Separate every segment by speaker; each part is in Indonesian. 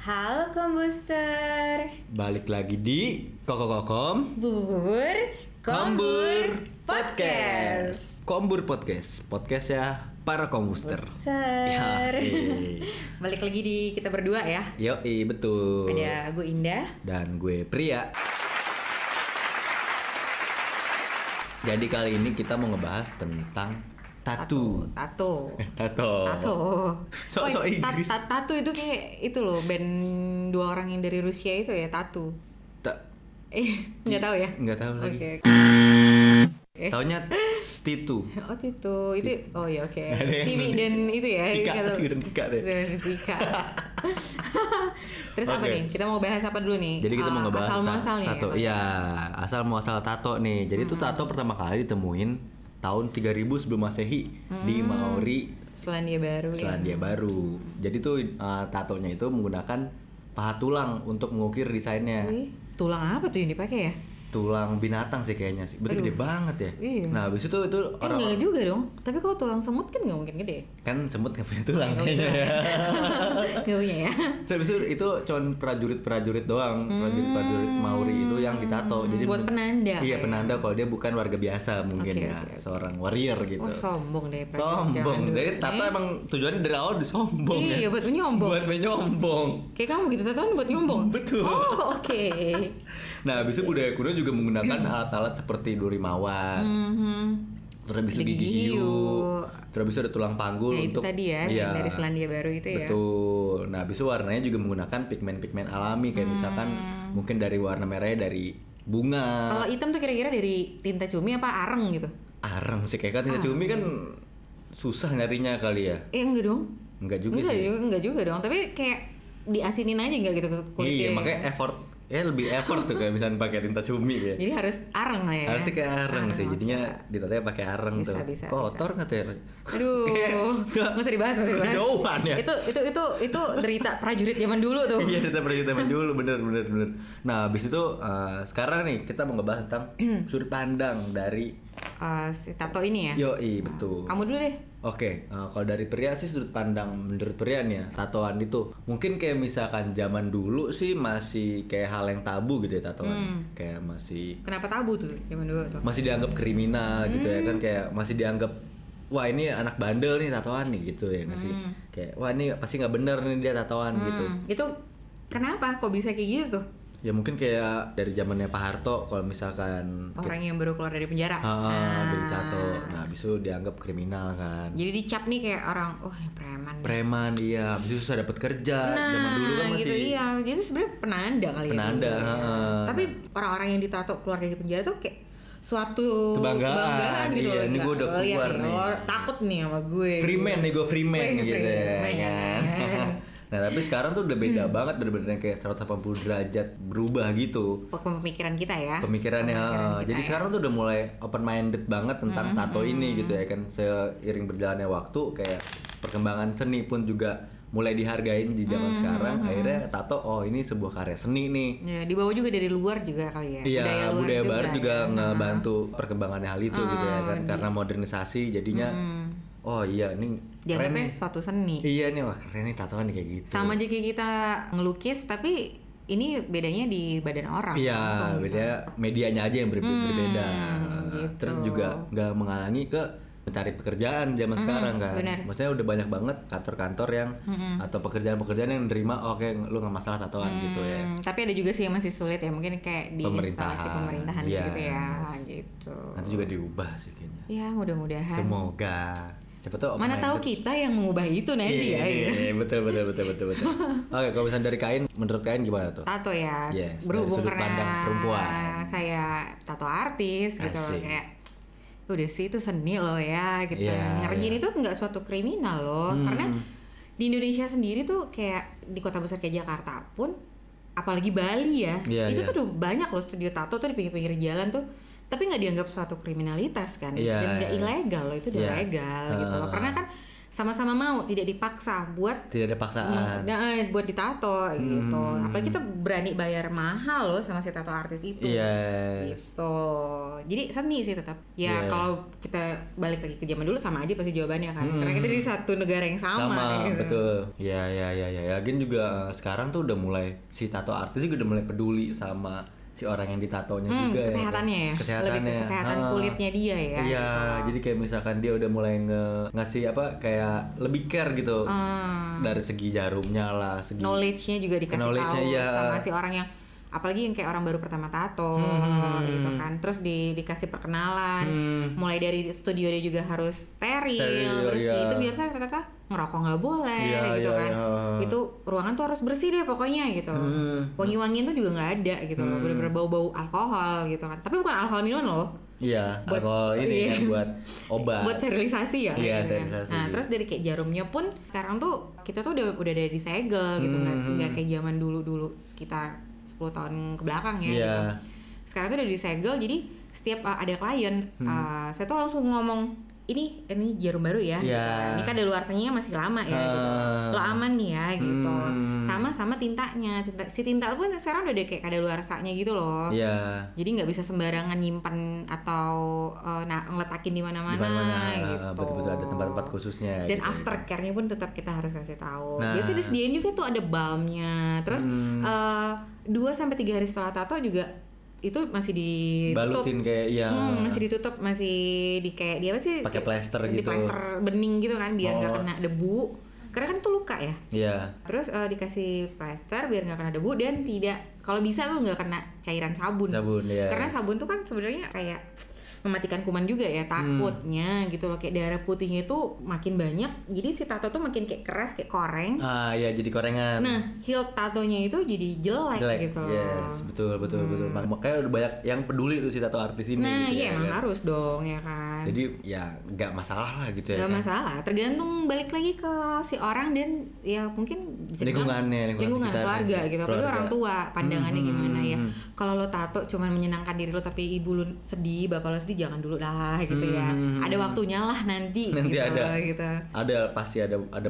Speaker 1: Halo Kombuster
Speaker 2: Balik lagi di Kokokokom
Speaker 1: Bubur Kombur Podcast
Speaker 2: Kombur Podcast Podcast ya para kombuster
Speaker 1: Ter. Ya, iya.
Speaker 2: Ya, iya.
Speaker 1: Balik lagi di kita berdua ya
Speaker 2: Yo, betul
Speaker 1: Ada gue Indah
Speaker 2: Dan gue Pria Jadi kali ini kita mau ngebahas tentang Tattoo
Speaker 1: Tato
Speaker 2: Tato
Speaker 1: Tato
Speaker 2: Sok- sok
Speaker 1: Woy, ta-
Speaker 2: Oh. Inggris.
Speaker 1: ta- Tato itu kayak itu loh band dua orang yang dari Rusia itu ya Tato
Speaker 2: Ta-
Speaker 1: Eh nggak tahu ya
Speaker 2: Nggak tahu lagi.
Speaker 1: Oke, Eh.
Speaker 2: Taunya Titu
Speaker 1: Oh Tito itu oh ya oke
Speaker 2: Ada yang
Speaker 1: Timi
Speaker 2: nulis.
Speaker 1: dan itu ya
Speaker 2: Tika,
Speaker 1: nggak tahu. Iya.
Speaker 2: Tiwi dan Tika deh.
Speaker 1: Dan Tika. Terus apa
Speaker 2: Oke.
Speaker 1: nih kita mau bahas apa dulu nih
Speaker 2: Jadi kita
Speaker 1: Ah,
Speaker 2: mau ngebahas
Speaker 1: asal
Speaker 2: tentang
Speaker 1: muasalnya
Speaker 2: tato.
Speaker 1: ya?
Speaker 2: Iya, asal muasal tato nih. Jadi itu tato pertama kali ditemuin tahun 3000 sebelum Masehi di Maori,
Speaker 1: Selandia Baru ya.
Speaker 2: Selandia Baru. Jadi tuh eh, tatonya itu menggunakan paha tulang untuk mengukir desainnya.
Speaker 1: Wih, tulang apa tuh yang dipakai ya
Speaker 2: Tulang binatang sih kayaknya sih. Berarti gede banget ya.
Speaker 1: Iya.
Speaker 2: Nah, habis itu itu
Speaker 1: Eh
Speaker 2: orang
Speaker 1: enggak juga dong tapi kalau tulang semut kan nggak mungkin gede
Speaker 2: kan semut nggak punya tulang
Speaker 1: Iya.
Speaker 2: kayaknya. ya.
Speaker 1: nggak punya ya
Speaker 2: Terus habis itu itu cuman prajurit-prajurit doang, prajurit-prajurit Maori itu yang ditato. Jadi
Speaker 1: Hmm. Buat
Speaker 2: men-
Speaker 1: penanda
Speaker 2: Iya,
Speaker 1: kayaknya.
Speaker 2: penanda kalau dia bukan warga biasa mungkin
Speaker 1: Oke,
Speaker 2: ya,
Speaker 1: oke, oke.
Speaker 2: seorang warrior gitu.
Speaker 1: oh sombong deh Pak. Jangan
Speaker 2: sombong.
Speaker 1: dulu.
Speaker 2: Jadi tato
Speaker 1: Eh,
Speaker 2: emang tujuannya dari awal disombong ya.
Speaker 1: Iya, buat menyombong.
Speaker 2: Buat menyombong.
Speaker 1: kayak kamu gitu tatoan buat nyombong
Speaker 2: Betul.
Speaker 1: oh oke
Speaker 2: Nah, habis itu budaya kuno juga menggunakan
Speaker 1: Hmm.
Speaker 2: alat-alat seperti duri mawar,
Speaker 1: Mhm.
Speaker 2: terus habis itu
Speaker 1: Gigi
Speaker 2: gigi
Speaker 1: hiu.
Speaker 2: hiu, terus habis itu ada tulang panggul
Speaker 1: Nah, itu
Speaker 2: untuk
Speaker 1: tadi ya
Speaker 2: Iya.
Speaker 1: yang dari Selandia Baru itu ya.
Speaker 2: Betul. Nah, habis itu warnanya juga menggunakan pigmen-pigmen alami kayak misalkan
Speaker 1: Hmm.
Speaker 2: mungkin dari warna merahnya dari bunga,
Speaker 1: Kalau hitam tuh kira-kira dari tinta cumi apa areng gitu?
Speaker 2: arang sih kayak kan tinta
Speaker 1: Ah.
Speaker 2: cumi kan susah nyarinya kali ya.
Speaker 1: Eh enggak dong.
Speaker 2: Enggak juga
Speaker 1: Enggak
Speaker 2: sih.
Speaker 1: juga, enggak juga dong. Tapi kayak diasinin aja enggak gitu ke kulitnya.
Speaker 2: Iya, makanya effort ya lebih effort tuh kayak misalnya pakai tinta cumi ya.
Speaker 1: Jadi harus areng lah ya.
Speaker 2: Harusnya kayak areng sih,
Speaker 1: oke.
Speaker 2: jadinya ditatanya pakai areng
Speaker 1: Bisa,
Speaker 2: tuh.
Speaker 1: bisa,
Speaker 2: Kotor nggak tuh ya?
Speaker 1: Aduh, nggak usah dibahas, nggak usah dibahas.
Speaker 2: Iya. Kejauhan ya.
Speaker 1: Itu itu itu itu derita prajurit zaman dulu tuh.
Speaker 2: Iya, kita pergi teman dulu, bener bener bener. Nah, habis itu eh, sekarang nih kita mau ngebahas tentang sudut pandang dari
Speaker 1: Eh, si tato ini ya.
Speaker 2: Yoi, betul.
Speaker 1: Kamu dulu deh.
Speaker 2: Oke, eh, kalau dari pria sih sudut pandang menurut pria nih ya, tatoan itu mungkin kayak misalkan zaman dulu sih masih kayak hal yang tabu gitu ya
Speaker 1: Hmm.
Speaker 2: tatoan. Kayak masih
Speaker 1: Kenapa tabu tuh zaman dulu tuh?
Speaker 2: masih dianggap kriminal gitu ya
Speaker 1: Hmm.
Speaker 2: kan kayak masih dianggap wah ini anak bandel nih tatoan nih gitu ya nggak sih kayak wah ini pasti nggak bener nih dia tatoan gitu
Speaker 1: Hmm, itu kenapa kok bisa kayak gitu tuh?
Speaker 2: ya mungkin kayak dari zamannya Pak Harto kalau misalkan
Speaker 1: Orang yang baru keluar dari penjara.
Speaker 2: ah, ah, dari
Speaker 1: Nah.
Speaker 2: tato nah habis itu dianggap kriminal kan
Speaker 1: Jadi dicap nih kayak orang, oh ini preman.
Speaker 2: preman dia habis itu susah dapat kerja
Speaker 1: nah,
Speaker 2: zaman dulu kan masih
Speaker 1: gitu iya. Jadi sebenarnya penanda kali
Speaker 2: Penanda,
Speaker 1: ya. dulu, ya.
Speaker 2: heeh.
Speaker 1: Tapi orang-orang yang ditato keluar dari penjara tuh kayak suatu
Speaker 2: Kebanggaan,
Speaker 1: gitu
Speaker 2: iya,
Speaker 1: loh.
Speaker 2: ini
Speaker 1: Kayak,
Speaker 2: gua udah
Speaker 1: "Oh, lihat
Speaker 2: keluar nih."
Speaker 1: orang takut nih sama gue.
Speaker 2: free man nih gue free man
Speaker 1: Wih,
Speaker 2: gitu
Speaker 1: free
Speaker 2: ya
Speaker 1: man.
Speaker 2: kan nah tapi sekarang tuh udah
Speaker 1: Hmm.
Speaker 2: beda banget bener-bener yang kayak 180 derajat berubah gitu
Speaker 1: Pemikiran kita ya.
Speaker 2: pemikirannya.
Speaker 1: Pemikiran kita
Speaker 2: jadi
Speaker 1: ya. Hmm,
Speaker 2: sekarang tuh udah mulai open minded banget tentang tato ini gitu ya kan. Seiring berjalannya waktu kayak perkembangan seni pun juga mulai dihargain di zaman
Speaker 1: Hmm,
Speaker 2: sekarang. Akhirnya tato oh ini sebuah karya seni nih.
Speaker 1: Ya, dibawa juga dari luar juga kali ya.
Speaker 2: Iya, budaya,
Speaker 1: luar
Speaker 2: baru juga
Speaker 1: ya. Oh,
Speaker 2: ngebantu perkembangannya hal itu gitu ya kan. Karena modernisasi jadinya oh iya ini keren
Speaker 1: Hmm. Dianggapnya
Speaker 2: nih.
Speaker 1: suatu seni.
Speaker 2: Iya nih wah keren nih tatoan nih kayak gitu.
Speaker 1: Sama aja kayak kita ngelukis tapi ini bedanya di badan orang.
Speaker 2: Iya,
Speaker 1: langsung gitu. Hmm,
Speaker 2: beda medianya aja yang berbe- berbeda.
Speaker 1: gitu. Hmm,
Speaker 2: Terus juga nggak mengalangi ke mencari pekerjaan zaman sekarang kan.
Speaker 1: benar. Hmm.
Speaker 2: Maksudnya udah banyak banget kantor-kantor yang atau pekerjaan-pekerjaan yang nerima oke lu nggak masalah tatoan gitu ya.
Speaker 1: Hmm, tapi ada juga sih yang masih sulit ya mungkin kayak di instalasi
Speaker 2: Pemerintahan,
Speaker 1: pemerintahan
Speaker 2: iya.
Speaker 1: gitu ya gitu
Speaker 2: Nanti juga diubah sih kayaknya.
Speaker 1: ya mudah-mudahan
Speaker 2: Semoga. Siapa tahu
Speaker 1: mana tahu kita yang mengubah itu nanti
Speaker 2: Oh, Iya,
Speaker 1: ya
Speaker 2: iya,
Speaker 1: gitu.
Speaker 2: iya, betul betul betul betul betul. Oke, kalau misalnya dari kain menurut kain gimana tuh?
Speaker 1: tato ya
Speaker 2: Yes, dari
Speaker 1: berhubung
Speaker 2: sudut pandang
Speaker 1: karena
Speaker 2: perempuan.
Speaker 1: saya tato artis gitu
Speaker 2: Asik.
Speaker 1: kayak udah sih itu seni loh ya gitu
Speaker 2: Iya, Hmm.
Speaker 1: ngerjain itu nggak suatu kriminal loh karena di Indonesia sendiri tuh kayak di kota besar kayak Jakarta pun apalagi Bali ya
Speaker 2: Iya,
Speaker 1: itu
Speaker 2: iya.
Speaker 1: tuh udah banyak loh studio tato tuh di pinggir-pinggir jalan tuh tapi nggak dianggap suatu kriminalitas kan
Speaker 2: Iya,
Speaker 1: dan nggak
Speaker 2: iya.
Speaker 1: ilegal loh itu udah
Speaker 2: Iya.
Speaker 1: legal gitu loh karena kan sama-sama mau tidak dipaksa buat
Speaker 2: Tidak ada paksaan.
Speaker 1: Nah, eh, buat ditato gitu.
Speaker 2: Hmm.
Speaker 1: Apalagi kita berani bayar mahal loh sama si tato artis itu.
Speaker 2: Iya, Yes.
Speaker 1: Gitu. Jadi seni sih tetap. Ya
Speaker 2: Iya.
Speaker 1: kalau kita balik lagi ke zaman dulu sama aja pasti jawabannya kan. Karena kita di satu negara yang sama.
Speaker 2: Hmm. sama
Speaker 1: gitu.
Speaker 2: betul ya ya ya ya lagian juga eh, sekarang tuh udah mulai si tato artis juga udah mulai peduli sama si orang yang ditatonya
Speaker 1: Hmm,
Speaker 2: juga ya.
Speaker 1: kesehatannya ya.
Speaker 2: kesehatannya
Speaker 1: Lebih ke kesehatan
Speaker 2: Ah.
Speaker 1: kulitnya dia ya.
Speaker 2: iya jadi kayak misalkan dia udah mulai nge- ngasih apa kayak lebih care gitu
Speaker 1: Ah. Hmm.
Speaker 2: dari segi jarumnya lah segi
Speaker 1: Knowledge-nya juga dikasih
Speaker 2: Knowledge-nya,
Speaker 1: tahu
Speaker 2: iya.
Speaker 1: sama si orang yang apalagi yang kayak orang baru pertama tato
Speaker 2: Hmm.
Speaker 1: gitu kan. Terus di dikasih perkenalan. Mulai dari studio dia juga harus steril,
Speaker 2: Steril,
Speaker 1: bersih.
Speaker 2: iya.
Speaker 1: Itu biasanya ternyata ngerokok nggak boleh
Speaker 2: Iya,
Speaker 1: gitu
Speaker 2: iya, Hmm.
Speaker 1: kan.
Speaker 2: iya.
Speaker 1: Itu ruangan tuh harus bersih deh pokoknya gitu. Wangi-wangian tuh juga nggak ada gitu
Speaker 2: Hmm.
Speaker 1: loh. Bener-bener bau-bau alkohol gitu kan. Tapi bukan alkohol minum loh.
Speaker 2: iya
Speaker 1: Buat-
Speaker 2: alkohol ini
Speaker 1: iya.
Speaker 2: kan buat obat
Speaker 1: buat sterilisasi ya
Speaker 2: Iya,
Speaker 1: gitu kan.
Speaker 2: sterilisasi.
Speaker 1: nah terus dari kayak jarumnya pun sekarang tuh kita tuh udah udah dari segel gitu nggak
Speaker 2: Hmm.
Speaker 1: nggak kayak zaman dulu dulu sekitar 10 tahun ke belakang ya
Speaker 2: Iya.
Speaker 1: gitu. sekarang tuh udah di segel jadi setiap uh, ada klien
Speaker 2: Hmm.
Speaker 1: uh, saya tuh langsung ngomong ini ini jarum baru ya gitu kan.
Speaker 2: Iya.
Speaker 1: ini kan daluarsanya masih lama ya gitu
Speaker 2: Ah.
Speaker 1: lo aman nih ya gitu
Speaker 2: Hmm.
Speaker 1: sama sama tintanya Tinta- si tinta pun sekarang udah ada kayak kadaluarsanya gitu loh
Speaker 2: iya
Speaker 1: jadi nggak bisa sembarangan nyimpan atau eh, na- ngeletakin di
Speaker 2: di
Speaker 1: mana-mana
Speaker 2: mana-mana
Speaker 1: gitu.
Speaker 2: ah, betul-betul ada tempat-tempat khususnya
Speaker 1: Dan
Speaker 2: gitu.
Speaker 1: aftercare-nya pun tetap kita harus kasih tahu.
Speaker 2: Nah. Hmm.
Speaker 1: Biasanya disediain juga tuh ada balmnya. Terus eh, dua sampai tiga hari setelah tato juga itu masih ditutup.
Speaker 2: balutin kayak ya
Speaker 1: Gitu. Hmm, masih ditutup, masih di kayak dia apa sih?
Speaker 2: Pakai plester
Speaker 1: di
Speaker 2: gitu.
Speaker 1: plester bening gitu kan biar nggak
Speaker 2: Oh.
Speaker 1: kena debu. Karena kan itu luka ya.
Speaker 2: iya
Speaker 1: Terus eh, dikasih plaster biar nggak kena debu dan tidak kalau bisa tuh nggak kena cairan sabun.
Speaker 2: Sabun, iya. yes.
Speaker 1: Karena sabun tuh kan sebenarnya kayak mematikan kuman juga
Speaker 2: Hmm.
Speaker 1: ya takutnya gitu loh kayak darah putihnya itu makin banyak jadi si tato tuh makin kayak keras kayak koreng
Speaker 2: ah ya jadi korengan
Speaker 1: nah heel tatonya itu jadi jelek,
Speaker 2: jelek
Speaker 1: gitu loh Hmm.
Speaker 2: yes betul betul betul Mak- makanya udah banyak yang peduli tuh si tato artis ini
Speaker 1: nah
Speaker 2: gitu
Speaker 1: iya
Speaker 2: ya,
Speaker 1: emang
Speaker 2: kan.
Speaker 1: harus dong ya kan
Speaker 2: jadi ya nggak masalah lah gitu ya
Speaker 1: Gak
Speaker 2: kan.
Speaker 1: masalah, tergantung balik lagi ke si orang dan ya mungkin bisa dibilang
Speaker 2: Lingkungannya, lingkungan
Speaker 1: lingkungan
Speaker 2: sekitarnya
Speaker 1: keluarga
Speaker 2: sih,
Speaker 1: gitu, apalagi
Speaker 2: keluarga. Hmm,
Speaker 1: orang tua pandangannya gimana ya. Kalau lo tato cuman menyenangkan diri lo tapi ibu lo sedih, bapak lo sedih jangan dulu lah gitu ya.
Speaker 2: Hmm,
Speaker 1: Ada waktunya lah nanti,
Speaker 2: Nanti
Speaker 1: gitu
Speaker 2: ada.
Speaker 1: loh, gitu.
Speaker 2: ada pasti ada ada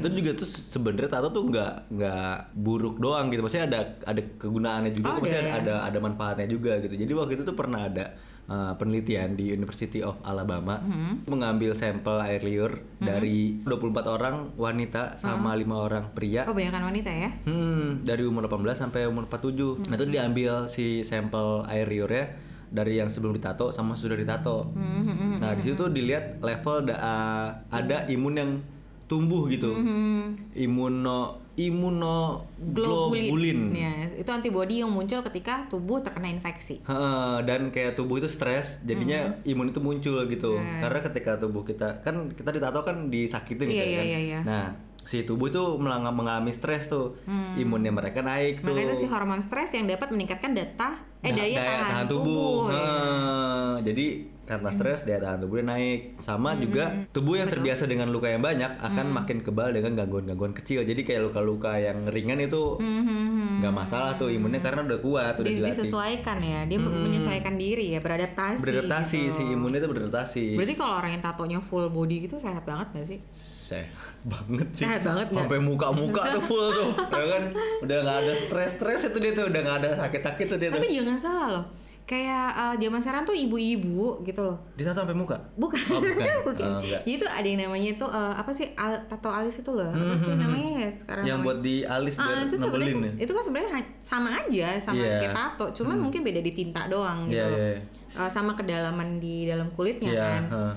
Speaker 1: Hmm.
Speaker 2: itu juga tuh sebenarnya tato tuh nggak nggak buruk doang gitu maksudnya ada ada kegunaannya
Speaker 1: Oh,
Speaker 2: juga kok. maksudnya
Speaker 1: ada ya?
Speaker 2: ada ada manfaatnya juga gitu jadi waktu itu tuh pernah ada uh, penelitian di University of Alabama
Speaker 1: Hmm.
Speaker 2: mengambil sampel air liur dari 24 orang wanita
Speaker 1: Ah.
Speaker 2: sama lima orang pria
Speaker 1: Oh, banyakan wanita ya.
Speaker 2: Hmm, dari umur 18 sampai umur 47.
Speaker 1: Hmm.
Speaker 2: Nah, itu diambil si sampel air liurnya dari yang sebelum ditato sama sudah ditato.
Speaker 1: Hmm,
Speaker 2: Nah, di situ dilihat level da- ada imun yang tumbuh gitu.
Speaker 1: Hmm,
Speaker 2: Imuno imuno
Speaker 1: Globulin. Ya, itu antibodi yang muncul ketika tubuh terkena infeksi.
Speaker 2: Heeh, dan kayak tubuh itu stres
Speaker 1: Hmm,
Speaker 2: jadinya imun itu muncul gitu karena ketika tubuh kita kan kita ditato kan disakitin
Speaker 1: Nah.
Speaker 2: gitu
Speaker 1: Iya,
Speaker 2: ya
Speaker 1: iya,
Speaker 2: kan
Speaker 1: iya, iya.
Speaker 2: nah si tubuh itu melangga- mengalami stres tuh imunnya mereka naik tuh
Speaker 1: Hmm. Makanya itu si hormon stres yang dapat meningkatkan data eh
Speaker 2: Nah,
Speaker 1: daya, tahan, tubuh. ya.
Speaker 2: Heeh, jadi karena stres daya tahan tubuhnya naik sama
Speaker 1: Hmm,
Speaker 2: juga tubuh yang terbiasa dengan luka yang banyak akan makin kebal dengan gangguan-gangguan kecil jadi kayak luka-luka yang ringan itu
Speaker 1: Hmm,
Speaker 2: nggak masalah tuh imunnya karena udah kuat udah
Speaker 1: Di-
Speaker 2: dilatih
Speaker 1: disesuaikan ya dia menyesuaikan diri ya beradaptasi
Speaker 2: Hmm. beradaptasi
Speaker 1: gitu.
Speaker 2: si imunnya itu beradaptasi
Speaker 1: berarti kalau orang yang tatonya full body gitu sehat banget gak sih
Speaker 2: sehat banget sih
Speaker 1: Sehat banget nggak?
Speaker 2: sampai muka-muka tuh full tuh ya kan udah nggak ada stres-stres itu dia tuh udah nggak ada sakit-sakit tuh dia tuh
Speaker 1: tapi jangan salah loh kayak eh, zaman sekarang tuh ibu-ibu gitu loh
Speaker 2: di sana sampai muka
Speaker 1: bukan
Speaker 2: Oh, bukan. Oh, enggak.
Speaker 1: itu ada yang namanya tuh eh, apa sih al- tato alis itu loh apa sih namanya ya sekarang
Speaker 2: Hmm. yang
Speaker 1: namanya?
Speaker 2: buat di alis
Speaker 1: Ah,
Speaker 2: biar
Speaker 1: itu sebenarnya
Speaker 2: nebelin ya
Speaker 1: itu kan sebenarnya ha- sama aja sama
Speaker 2: Iya.
Speaker 1: kayak tato cuman mungkin beda di tinta doang gitu
Speaker 2: Iya,
Speaker 1: loh
Speaker 2: iya, iya.
Speaker 1: Eh, sama kedalaman di dalam kulitnya
Speaker 2: Iya,
Speaker 1: kan
Speaker 2: heeh.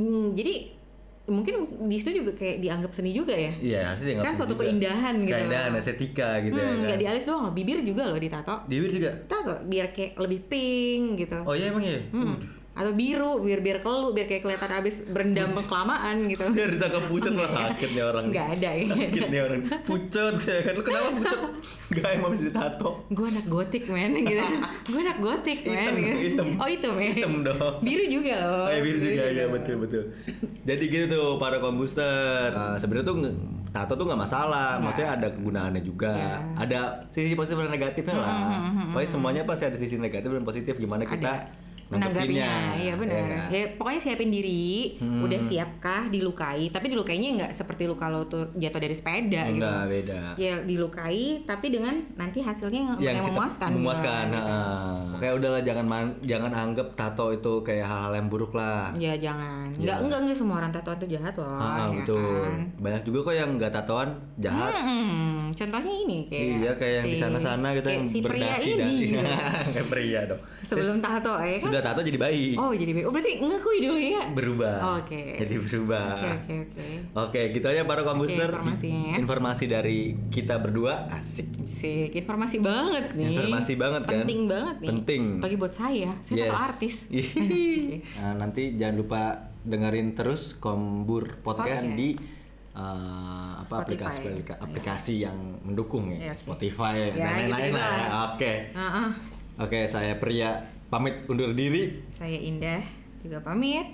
Speaker 1: Hmm, jadi mungkin di situ juga kayak dianggap seni juga ya
Speaker 2: Iya, harusnya dianggap
Speaker 1: Kan
Speaker 2: seni
Speaker 1: suatu
Speaker 2: juga.
Speaker 1: keindahan gitu
Speaker 2: Keindahan
Speaker 1: loh.
Speaker 2: estetika gitu
Speaker 1: Hmm,
Speaker 2: ya.
Speaker 1: nggak
Speaker 2: Kan?
Speaker 1: di alis doang loh, bibir juga loh ditato.
Speaker 2: Di bibir juga.
Speaker 1: Tato biar kayak lebih pink gitu.
Speaker 2: Oh iya emang ya.
Speaker 1: Hmm. Atau biru, biar biar kelu, biar kayak kelihatan abis berendam kelamaan gitu.
Speaker 2: Biar ditangkap pucet lah sakit nih orang.
Speaker 1: Nggak ada ya.
Speaker 2: Sakit nih orang. Pucet ya kan. Lu kenapa pucet? Enggak emang bisa ditato.
Speaker 1: Gue anak gotik men gitu. Gue anak gotik men.
Speaker 2: Hitam,
Speaker 1: gitu.
Speaker 2: hitam.
Speaker 1: Oh itu men.
Speaker 2: Hitam dong.
Speaker 1: Biru juga loh.
Speaker 2: Eh, biru juga
Speaker 1: iya.
Speaker 2: ya betul betul. Jadi gitu tuh para kombuster. Nah, Sebenarnya tuh nge- tato tuh nggak masalah, maksudnya ada kegunaannya juga,
Speaker 1: Iya.
Speaker 2: ada
Speaker 1: Hmm,
Speaker 2: sisi positif dan negatifnya lah. Pokoknya semuanya pasti ada sisi negatif dan positif gimana kita
Speaker 1: menanggapinya
Speaker 2: Nanggepinnya,
Speaker 1: ya benar
Speaker 2: iya Hmm.
Speaker 1: ya,
Speaker 2: kan?
Speaker 1: pokoknya siapin diri udah siapkah dilukai tapi dilukainya nggak seperti luka lo tuh jatuh dari sepeda gitu
Speaker 2: enggak beda
Speaker 1: ya dilukai tapi dengan nanti hasilnya yang, yang
Speaker 2: kita-
Speaker 1: memuaskan gitu.
Speaker 2: memuaskan heeh. kayak udahlah jangan man- jangan anggap tato itu kayak hal-hal yang buruk lah
Speaker 1: ya jangan nggak nggak nggak semua orang tatoan tuh jahat loh
Speaker 2: Ah,
Speaker 1: ya
Speaker 2: Iya. betul
Speaker 1: kan?
Speaker 2: banyak juga kok yang nggak tatoan jahat
Speaker 1: Mm-mm. contohnya ini kayak
Speaker 2: iya kayak yang di
Speaker 1: Hmm, si-
Speaker 2: sana-sana gitu
Speaker 1: kayak
Speaker 2: yang
Speaker 1: si pria
Speaker 2: berdasi
Speaker 1: ini
Speaker 2: dasi
Speaker 1: gitu.
Speaker 2: kayak pria dong
Speaker 1: sebelum tato ya kan
Speaker 2: sudah Iya. tato jadi baik
Speaker 1: oh jadi baik. oh berarti ngakui dulu ya
Speaker 2: berubah
Speaker 1: Oke.
Speaker 2: jadi berubah
Speaker 1: oke oke oke
Speaker 2: Oke, gitu aja para kombuster.
Speaker 1: Oke, informasinya ya.
Speaker 2: Informasi dari kita berdua asik.
Speaker 1: Sik, informasi banget nih.
Speaker 2: Informasi banget kan?
Speaker 1: Penting banget nih.
Speaker 2: Penting.
Speaker 1: Bagi buat saya, saya
Speaker 2: Yes. Iya.
Speaker 1: tato artis.
Speaker 2: Hihihi. Nah, nanti jangan lupa dengerin terus Kombur Podcast
Speaker 1: Podcast.
Speaker 2: di eh, apa
Speaker 1: Spotify.
Speaker 2: aplikasi aplikasi yang mendukung ya,
Speaker 1: Iya, oke.
Speaker 2: Spotify
Speaker 1: Ya,
Speaker 2: dan lain-lain
Speaker 1: gitu-gitu
Speaker 2: lah.
Speaker 1: lah.
Speaker 2: Oke.
Speaker 1: Ah, ah.
Speaker 2: Oke, saya Pria pamit undur diri
Speaker 1: Saya Indah juga pamit.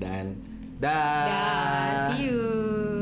Speaker 2: dan
Speaker 1: Dah, see you.